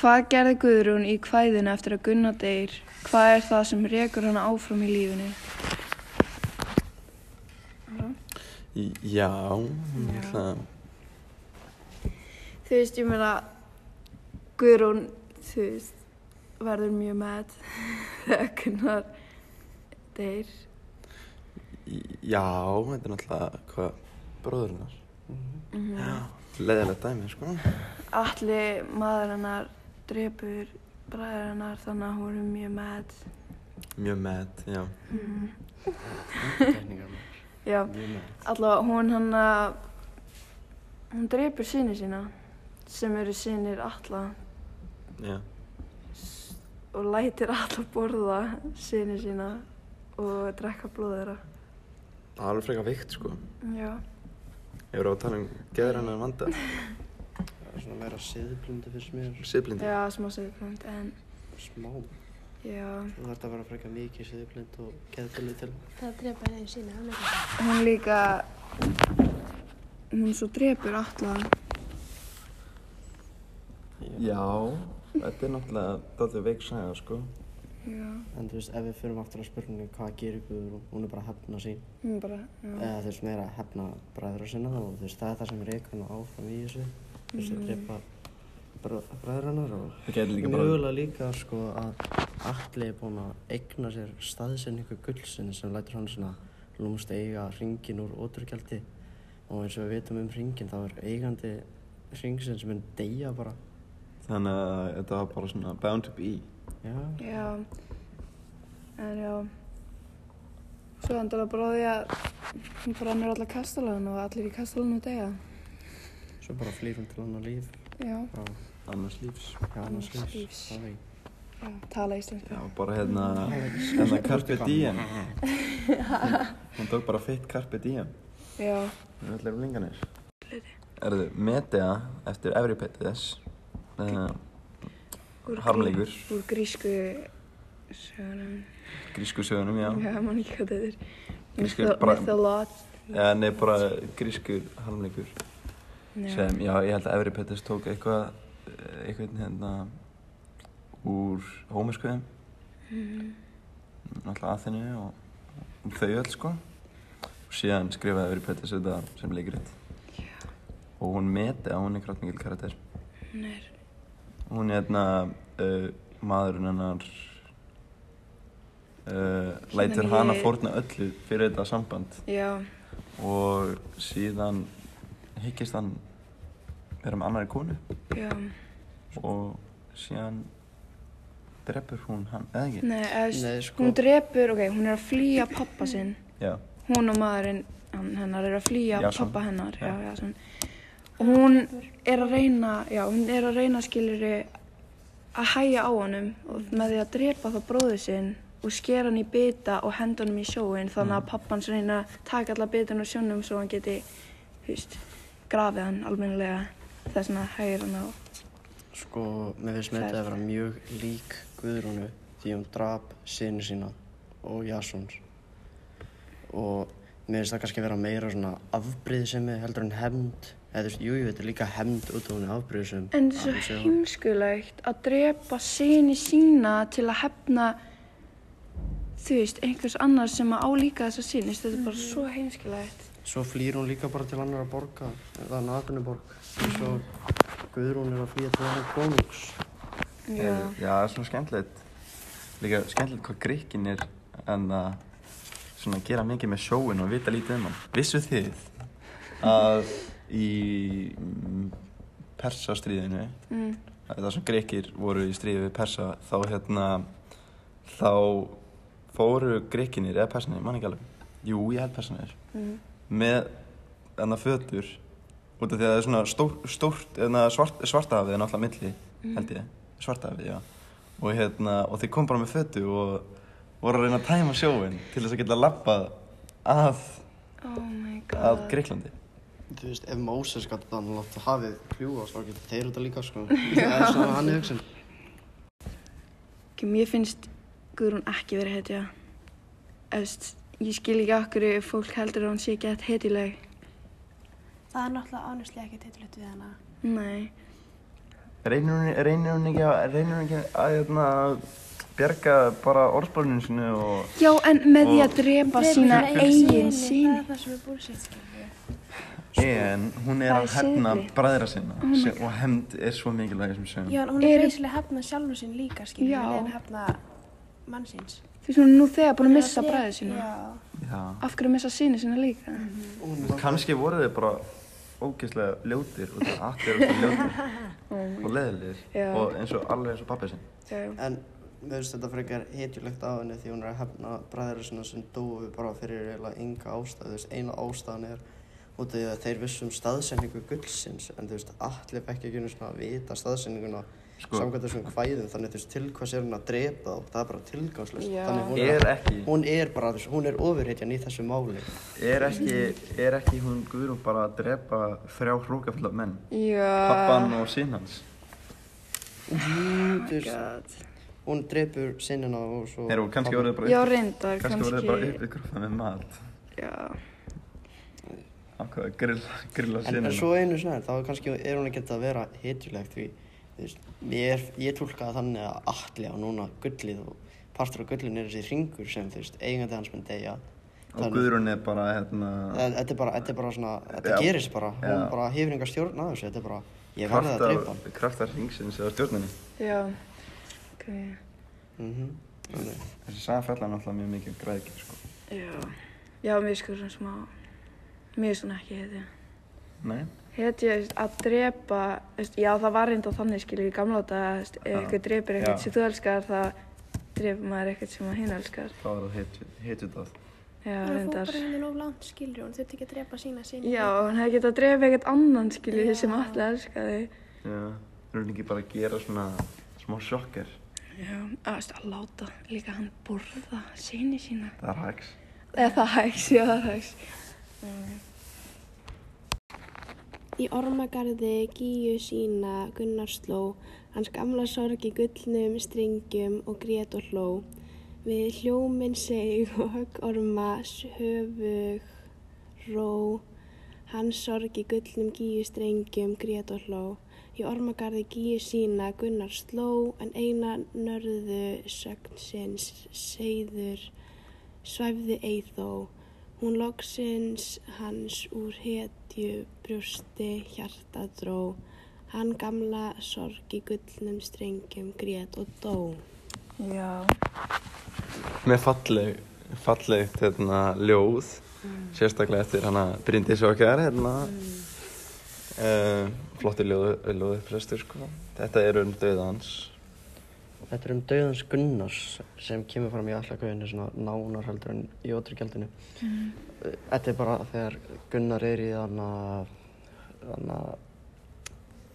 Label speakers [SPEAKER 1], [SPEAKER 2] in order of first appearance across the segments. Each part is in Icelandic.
[SPEAKER 1] Hvað gerði Guðrún í kvæðinu eftir að Gunna deyr? Hvað er það sem rekur hana áfram í lífinu?
[SPEAKER 2] Í- Já, ég ætla að...
[SPEAKER 1] Þú veist, ég meina, Guðrún, þú veist, verður mjög mad þegar Gunnar deyr.
[SPEAKER 2] í- Já, þetta er náttúrulega hvað bróður hennar. Leðilegt dæmi, sko.
[SPEAKER 1] Alli maður hennar drepur bræður hennar þannig að hún er mjög mad.
[SPEAKER 2] Mjög með, já.
[SPEAKER 3] Tekningar maður.
[SPEAKER 1] Já,
[SPEAKER 3] Mjög með.
[SPEAKER 1] allavega hún hann að, hún drepur sinni sína sem eru sinir alla
[SPEAKER 2] Já,
[SPEAKER 1] og lætir alla borða sinni sína og drekka blóð þeirra.
[SPEAKER 2] það er alveg frekar vikt, sko.
[SPEAKER 1] Já.
[SPEAKER 2] Ég voru að tala um geðrannan vanda,
[SPEAKER 3] Það er svona meira siðblindu fyrst mér.
[SPEAKER 2] siðblindi.
[SPEAKER 1] Já, smá segðkvæmt, en
[SPEAKER 3] Smá. Þú
[SPEAKER 1] já,
[SPEAKER 3] þarf að vera frekar mikið siðblind og geðblind til.
[SPEAKER 4] Það drepa henni sína, hann ekki.
[SPEAKER 1] hún líka, hún svo drepur alla.
[SPEAKER 2] Já, þetta er náttúrulega dálítið veik saga, sko.
[SPEAKER 1] Já,
[SPEAKER 3] En þú veist, ef við fyrir aftur að spurningu hvað gerir Guðrún, hún er bara að hefna sín.
[SPEAKER 1] hún bara, já.
[SPEAKER 3] Eða þú veist, meira að hefna bræðra sinna og þú veist, það er það sem rekur hana áfram í þessu. Þú veist, að drepa bræðra hennar og
[SPEAKER 2] Það getur
[SPEAKER 3] Mjögulega líka sko að Atli er búinn að eigna sér staðsendingu gullsinn sem lætur hann svona lúmst eiga ringin úr ótrúgjaldi og eins og við vitum um ringin þá er eigandi ringsinn sem er deyja bara
[SPEAKER 2] Þannig að þetta var bara svona bound to be.
[SPEAKER 3] Já,
[SPEAKER 1] Já, en já, svo endur það bara á því að hún brannur alla kastalan og allir í kastalanum deyja.
[SPEAKER 3] svo bara flýr hún til annar líf
[SPEAKER 1] Já,
[SPEAKER 3] frá
[SPEAKER 2] Annars lífs.
[SPEAKER 3] frá annars
[SPEAKER 1] Annars
[SPEAKER 3] lífs
[SPEAKER 1] lífs.
[SPEAKER 3] Það veit.
[SPEAKER 1] já, tala íslensku.
[SPEAKER 2] Já, bara hérna, hérna Carpe Diem. Hún- Hún tók bara feitt Carpe Diem.
[SPEAKER 1] Já,
[SPEAKER 2] Við ætlum um linganir. Erðu, Medea eftir Evripetides. Uh,
[SPEAKER 1] úr,
[SPEAKER 2] Harmleikur.
[SPEAKER 1] grí- úr grísku sögunum.
[SPEAKER 2] grísku sögunum, já.
[SPEAKER 1] Já, mann ekki hvað þetta er.
[SPEAKER 2] Grísku
[SPEAKER 1] Mytho-
[SPEAKER 2] bara-
[SPEAKER 1] mytholo-
[SPEAKER 2] Eða Eh, nei, bara grískur harmleikur.
[SPEAKER 1] Já.
[SPEAKER 2] Sem, já, ég held að Evripetides tók eitthvað, eh, eitthvað hérna úr hómiskuðum. Náttúrulega Aþenu og og þau öll, sko. Og síðan skrifaði Evripetides þetta sem leikrit. Og hún Medea, hún er kraftmikil karakter.
[SPEAKER 1] Hún er,
[SPEAKER 2] Hún er hérna, uh, maðurinn hennar uh, lætur
[SPEAKER 1] Hérna
[SPEAKER 2] hana
[SPEAKER 1] ég-
[SPEAKER 2] fórna öllu fyrir þetta samband
[SPEAKER 1] já,
[SPEAKER 2] og síðan hyggist hann vera með annari konu
[SPEAKER 1] já.
[SPEAKER 2] og síðan drepur hún hann, eða ekki?
[SPEAKER 1] Nei, eðst,
[SPEAKER 3] Nei, sko.
[SPEAKER 1] hún drepur, ok, hún er að flýja pappa sinn.
[SPEAKER 2] Já,
[SPEAKER 1] Hún og maðurinn hann, hennar er að flýja
[SPEAKER 2] Jason.
[SPEAKER 1] pappa hennar. Já,
[SPEAKER 2] Já.
[SPEAKER 1] já, Og hún er að reyna, já, hún er að reyna skilur að hæja á honum og með því að drepa þá bróður sinn og skera hann í bita og henda honum í sjóin þannig að pappans reyna að taka alla bitin og sjónum svo hann geti, þú veist, grafið hann almennilega þess vegna hægir hann á.
[SPEAKER 3] Sko, mér finnst með þetta að vera mjög lík Guðrúnu því hún drap sinu sína og Jasons. Og mér finnst það kannski vera meira svona afbrýðisemi heldur en hefnd. Eða þú veist, jú, jú, þetta er líka hefnd út af hún er afbrýðisum.
[SPEAKER 1] En svo heimskulegt að drepa sinni sína til að hefna, þú veist, einhvers annars sem að álíka þessa sinni. Þetta er bara
[SPEAKER 2] Mhm.
[SPEAKER 1] svo heimskulegt.
[SPEAKER 3] Svo flýr hún líka bara til annar að borga, eða Nagunuborg. Svo Guðrún er að flýja til annar konungs.
[SPEAKER 1] Já,
[SPEAKER 2] Eh, já, það er svona skemmtilegt líka skemmtilegt hvað gríkin er en að svona gera mikið með sjóin og vita lítið um hann Vissu þið að í mm, persastríðinu
[SPEAKER 1] mm,
[SPEAKER 2] að það sem grekir voru í stríði við persa þá hérna þá fóru grekinir eða persanir, mann ekki alveg jú, ég held persanir
[SPEAKER 1] mm,
[SPEAKER 2] með enna fötur út af því að það er svona stór, stórt enna svart, svartahafið er náttúrulega milli
[SPEAKER 1] Mhm.
[SPEAKER 2] held ég, svartahafið, já og hérna, og þeir kom bara með fötu og voru að reyna að tæma sjóin til þess að geta lappað að,
[SPEAKER 1] oh my
[SPEAKER 2] að
[SPEAKER 1] god.
[SPEAKER 2] Greiklandi
[SPEAKER 3] Þú veist, ef Móses gæti þetta, hann látti hafið kljúast, þá getur þeir þetta líka, sko. Það er svona hann í hugsun.
[SPEAKER 1] Ok, mér finnst Guðrún ekki verið hetja. Efst, ég skil ekki okkur ef fólk heldur að hún sé ekki að hetileg.
[SPEAKER 4] Það er náttúrulega ánuslega ekki teitlötu við hana.
[SPEAKER 1] Nei.
[SPEAKER 2] reynir hún, reynir hún ekki að, reynir hún ekki að, hérna, bjarga bara orðspólunum sinu og,
[SPEAKER 1] Já, en með því
[SPEAKER 2] Og-
[SPEAKER 1] að drepa sína eigin
[SPEAKER 4] Það
[SPEAKER 1] síni.
[SPEAKER 4] er það sem er búlsitt, skilur.
[SPEAKER 2] en hún er
[SPEAKER 1] Það
[SPEAKER 2] að
[SPEAKER 1] er
[SPEAKER 2] hefna
[SPEAKER 1] siðferði. Oh
[SPEAKER 2] bræðra sinna sem, og hefnd er svo mikilvæg sem sem.
[SPEAKER 4] Já, en hún er
[SPEAKER 1] Eru-
[SPEAKER 4] reynsilega hefna sjálfur sín líka, skilur,
[SPEAKER 1] Já.
[SPEAKER 4] en hefna mannsins.
[SPEAKER 1] Því sem hún er nú þegar búin að missa bræði sína.
[SPEAKER 4] Já.
[SPEAKER 2] Já.
[SPEAKER 1] Af hverju missa síni sína líka?
[SPEAKER 2] Mhm. Kanski voru þið bara ógeðslega ljótir út af allir eru svo ljótir
[SPEAKER 1] Oh
[SPEAKER 2] og leðilegir
[SPEAKER 1] Já.
[SPEAKER 2] og eins og alveg eins og pappið sinn.
[SPEAKER 1] Já,
[SPEAKER 3] En mér finnst þetta frekar hetjulegt á henni því hún er að hefna bræðra sinna sem dóu bara fyrir eiginlega enga ástæðu. Þú veist, eina ástæðan er út af því að þeir vissum staðsendingu gullsins en þú veist, allir fekk ekki einu svona að vita staðsendinguna
[SPEAKER 2] Sko.
[SPEAKER 3] samkvæmt þessum kvæðum þannig þú veist, til hvað sér hún að drepa þá, það er bara tilgangslust.
[SPEAKER 1] Já.
[SPEAKER 3] Þannig hún
[SPEAKER 2] Er ekki,
[SPEAKER 3] hún er bara, þú veist, hún er ofurhetjan í þessu máli.
[SPEAKER 2] er ekki, er ekki hún Guðrún bara að drepa þrjá hrókafulla menn? Pappan
[SPEAKER 1] já.
[SPEAKER 2] og sín hans.
[SPEAKER 1] Oh
[SPEAKER 3] Þú veist, hún drepur sinnina og svo...
[SPEAKER 2] Þeir eru kannski voruð þið bara
[SPEAKER 1] Já, reyndar,
[SPEAKER 2] kannski voruð þið bara
[SPEAKER 1] kannski.
[SPEAKER 2] uppið grúfa með mat.
[SPEAKER 1] Já,
[SPEAKER 2] Ákveða að grilla, grilla
[SPEAKER 3] En
[SPEAKER 2] sín.
[SPEAKER 3] svo einu snær, þá er kannski er hún ekki að vera hitjulegt því, þú veist, ég, er, ég tólkaði þannig að allir á núna gullið og partur af gullinu er þessi ringur sem, þú veist, eigandi hans mun deyja.
[SPEAKER 2] Og Guðrún er bara hérna,
[SPEAKER 3] En Þetta er bara, þetta er bara svona, þetta
[SPEAKER 2] Já.
[SPEAKER 3] gerist bara, hún
[SPEAKER 2] Já.
[SPEAKER 3] bara hefur enga stjórn að þessu, þetta er bara, ég verði að dreipa hann.
[SPEAKER 2] kraftar, kraftar ringsins eða stjórninni.
[SPEAKER 1] já. Ok,
[SPEAKER 3] Mhm, þannig.
[SPEAKER 2] Þessi saga fjallar náttúrulega mjög mikið um græðgir sko.
[SPEAKER 1] já. Já, mér sko svona smá, mér er svona ekki hetja.
[SPEAKER 2] Nei?
[SPEAKER 1] Hetja, þú veist, að drepa, þú veist, já það var reynda þannig skilur í gamla daga, þú veist, ef
[SPEAKER 2] Já.
[SPEAKER 1] eitthvað drepir eitthvað
[SPEAKER 2] Já.
[SPEAKER 1] sem þú elskar, þá drepur maður eitthvað sem hinn elskar.
[SPEAKER 2] Það var að hitja það.
[SPEAKER 1] Já,
[SPEAKER 4] Hún fór
[SPEAKER 1] reyndar.
[SPEAKER 4] bara henni nóg langt, skilur, hún þurfti ekki að drepa sína síni.
[SPEAKER 1] Já, hún hefði getað að drepa eitthvað annan skilur
[SPEAKER 4] Já.
[SPEAKER 1] sem allir elskaði.
[SPEAKER 2] Já, erum við ekki bara að gera svona smá sjokker?
[SPEAKER 1] Já, að, þú veist, að láta líka hann borða síni sína.
[SPEAKER 2] Það er hægs.
[SPEAKER 1] Eða það hægs, já það hægs. Mm.
[SPEAKER 5] Í ormagarði gíu sína Gunnar sló, hans gamla sorg í gullnum stringjum og grét og hló. Við hljóminn seg og högg orma höfug ró, hans sorg í gullnum gíu stringjum grét og hló. Í ormagarði gíu sína Gunnar sló, en eina nörðu sögnsins segður svæfði Eithó. Hún loksins hans úr hetju brjósti hjarta dró. Hann gamla sorg í gullnum strengjum grét og dó.
[SPEAKER 1] Já,
[SPEAKER 2] Með falleg, fallegt hérna, ljóð,
[SPEAKER 1] Mm.
[SPEAKER 2] sérstaklega eftir hana Bryndís okkar, hérna. Mm. flottir ljóð, ljóðu flestur, sko. Þetta er um döið hans.
[SPEAKER 3] Þetta er um dauðans Gunnars sem kemur fram í allakauðinu svona nánar heldur en í ótryggjaldinu. Þetta er bara þegar Gunnar er í þarna, þarna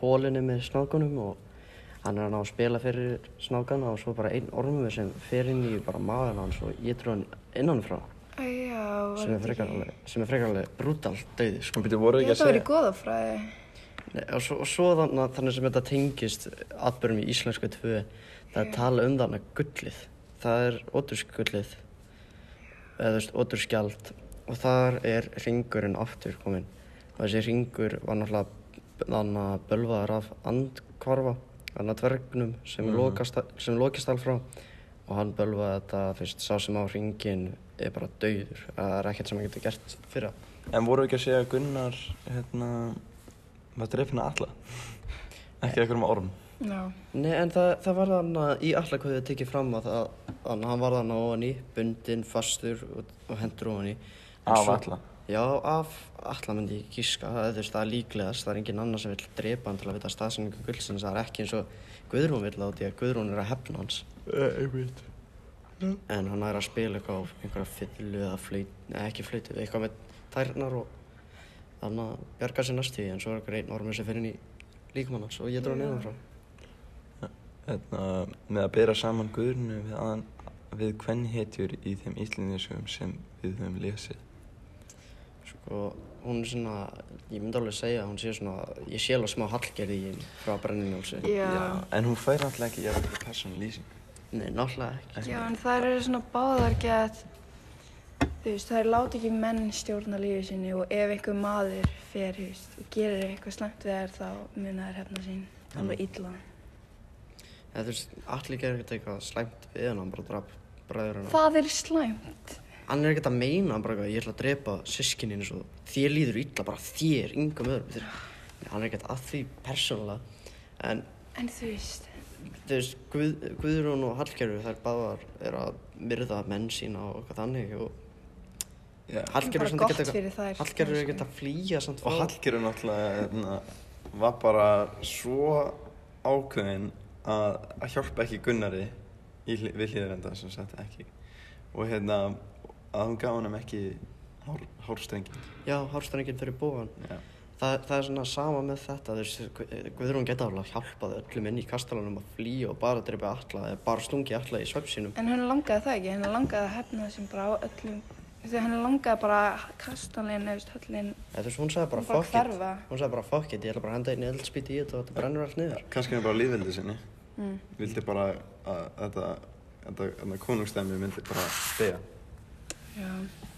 [SPEAKER 3] hólinu með snákunum og hann er að ná að spila fyrir snákana og svo bara einn ormur sem fer inn í bara maðurinn hans og ég trú hann innanfrá
[SPEAKER 1] Æ, já, var
[SPEAKER 3] sem er
[SPEAKER 1] þetta
[SPEAKER 3] frekar alveg, sem er frekar alveg brútal dauði sko.
[SPEAKER 2] Hún byrju voru
[SPEAKER 1] Ég
[SPEAKER 2] ekki
[SPEAKER 1] held að vera
[SPEAKER 2] að
[SPEAKER 1] í
[SPEAKER 2] segja.
[SPEAKER 1] goðafræði.
[SPEAKER 3] Nei, og svo, og svo þarna, þannig sem þetta tengist atbyrjum í íslensku tvö það er tala um þarna gullið það er óturskgullið eða þú veist, óturskjald og þar er ringurinn aftur kominn og þessi ringur var náttúrulega þannig að bölvaður af andkvarfa þannig að dvergnum sem, mm. lokast, sem lokist alfrá og hann bölvaði þetta fyrst sá sem á ringin er bara dauður það er ekkert sem hann getur gert fyrir það
[SPEAKER 2] En voru ekki að segja að Gunnar, hérna, maður dreipina alla.
[SPEAKER 1] Eh.
[SPEAKER 2] ekki eitthvað um orm.
[SPEAKER 1] Já.
[SPEAKER 3] Nei, en það, það var þarna í allakvöðu að tekið fram að það, hann, hann var þarna ofan í, bundinn, fastur og, og hendur ofan í. En
[SPEAKER 2] Af
[SPEAKER 3] svo-
[SPEAKER 2] alla.
[SPEAKER 3] Já, af alla myndi ég gíska, það er þú veist, það er líklegast, það er engin annar sem vill drepa hann til að vita staðsendingu gullsins, það er ekki eins og Guðrún vill áti að Guðrún er að hefna hans.
[SPEAKER 2] Einmitt.
[SPEAKER 3] En hann er að spila eitthvað á einhverja fyllu eða flöyt, neða ekki flöytu, eitthvað með tærnar og þannig að bjarga sér næstu í, en svo er einhver einn ormur sem fyrir inn í líkamann hans og ég dróði hann frá.
[SPEAKER 2] hérna, með að bera saman guðrunu við, aðan, við kvennhetjur í þeim íslendingasögum sem við höfum lesið.
[SPEAKER 3] Sko, hún er svona, ég myndi alveg segja að hún sé svona, ég sé alveg smá hallgerði í henni frá brenninjólsi.
[SPEAKER 1] Já.
[SPEAKER 2] En hún fær náttúrulega ekki jafnvel persónulýsing.
[SPEAKER 3] Nei, náttúrulega ekki.
[SPEAKER 1] Já, en þær eru svona báðar gett, þú veist, þær láti ekki menn stjórna lífið sinni og ef einhver maður fer, þú veist, og gerir eitthvað slæmt við þær, þá muna þær hefna sín. alveg illa.
[SPEAKER 3] En þú veist, allir gerir ekkert eitthvað slæmt við hann, hann bara draf bræður hann.
[SPEAKER 1] Það er slæmt.
[SPEAKER 3] Hann er ekkert að meina, hann bara eitthvað, ég ætla að drepa sískinin eins og þér líður illa, bara þér, yngum öðrum. Þér, hann er ekkert að því persónulega. En
[SPEAKER 1] En þú veist,
[SPEAKER 3] þú veist, Guð, Guðrún og Hallgerður, þær báðar er að myrða menn sína og eitthvað þannig og
[SPEAKER 2] Já.
[SPEAKER 3] Hallgerður
[SPEAKER 1] Bara
[SPEAKER 3] er samt
[SPEAKER 1] gott
[SPEAKER 3] ekkert
[SPEAKER 1] fyrir þær,
[SPEAKER 3] eitthvað, Hallgerður er
[SPEAKER 1] kannski.
[SPEAKER 3] ekkert að flýja samt
[SPEAKER 2] Og
[SPEAKER 3] frá-
[SPEAKER 2] Hallgerður náttúrulega hérna, var bara svo ákveðin að, að hjálpa ekki Gunnari í, hli- við hlýðarenda sem sagt ekki og hérna að hún gaf honum ekki hár, hárstrengi
[SPEAKER 3] Já, hárstrengin fyrir bóan.
[SPEAKER 2] Já.
[SPEAKER 3] Þa, það er svona sama með þetta, þú veist, Gu- Guðrún geta alveg hjálpað öllum inn í kastalanum að flýja og bara drepa alla, eða bara stungi alla í svefn sínum.
[SPEAKER 1] en henni langaði það ekki, henni langaði að hefna þessum bara á öllum, þegar henni langaði bara kastanlegin, eða höllin,
[SPEAKER 3] Eða þú veist, hún sagði bara
[SPEAKER 1] Hún bara
[SPEAKER 3] fuck it,
[SPEAKER 1] hverfa.
[SPEAKER 3] hún sagði bara fuck it, ég ætla bara að henda einu eldspýti í þetta og þetta brennur allt niður.
[SPEAKER 2] kannski hann bara lífveldi sinni mm. vildi bara að þetta, þetta, þetta konungstæmi myndi bara stega
[SPEAKER 1] já.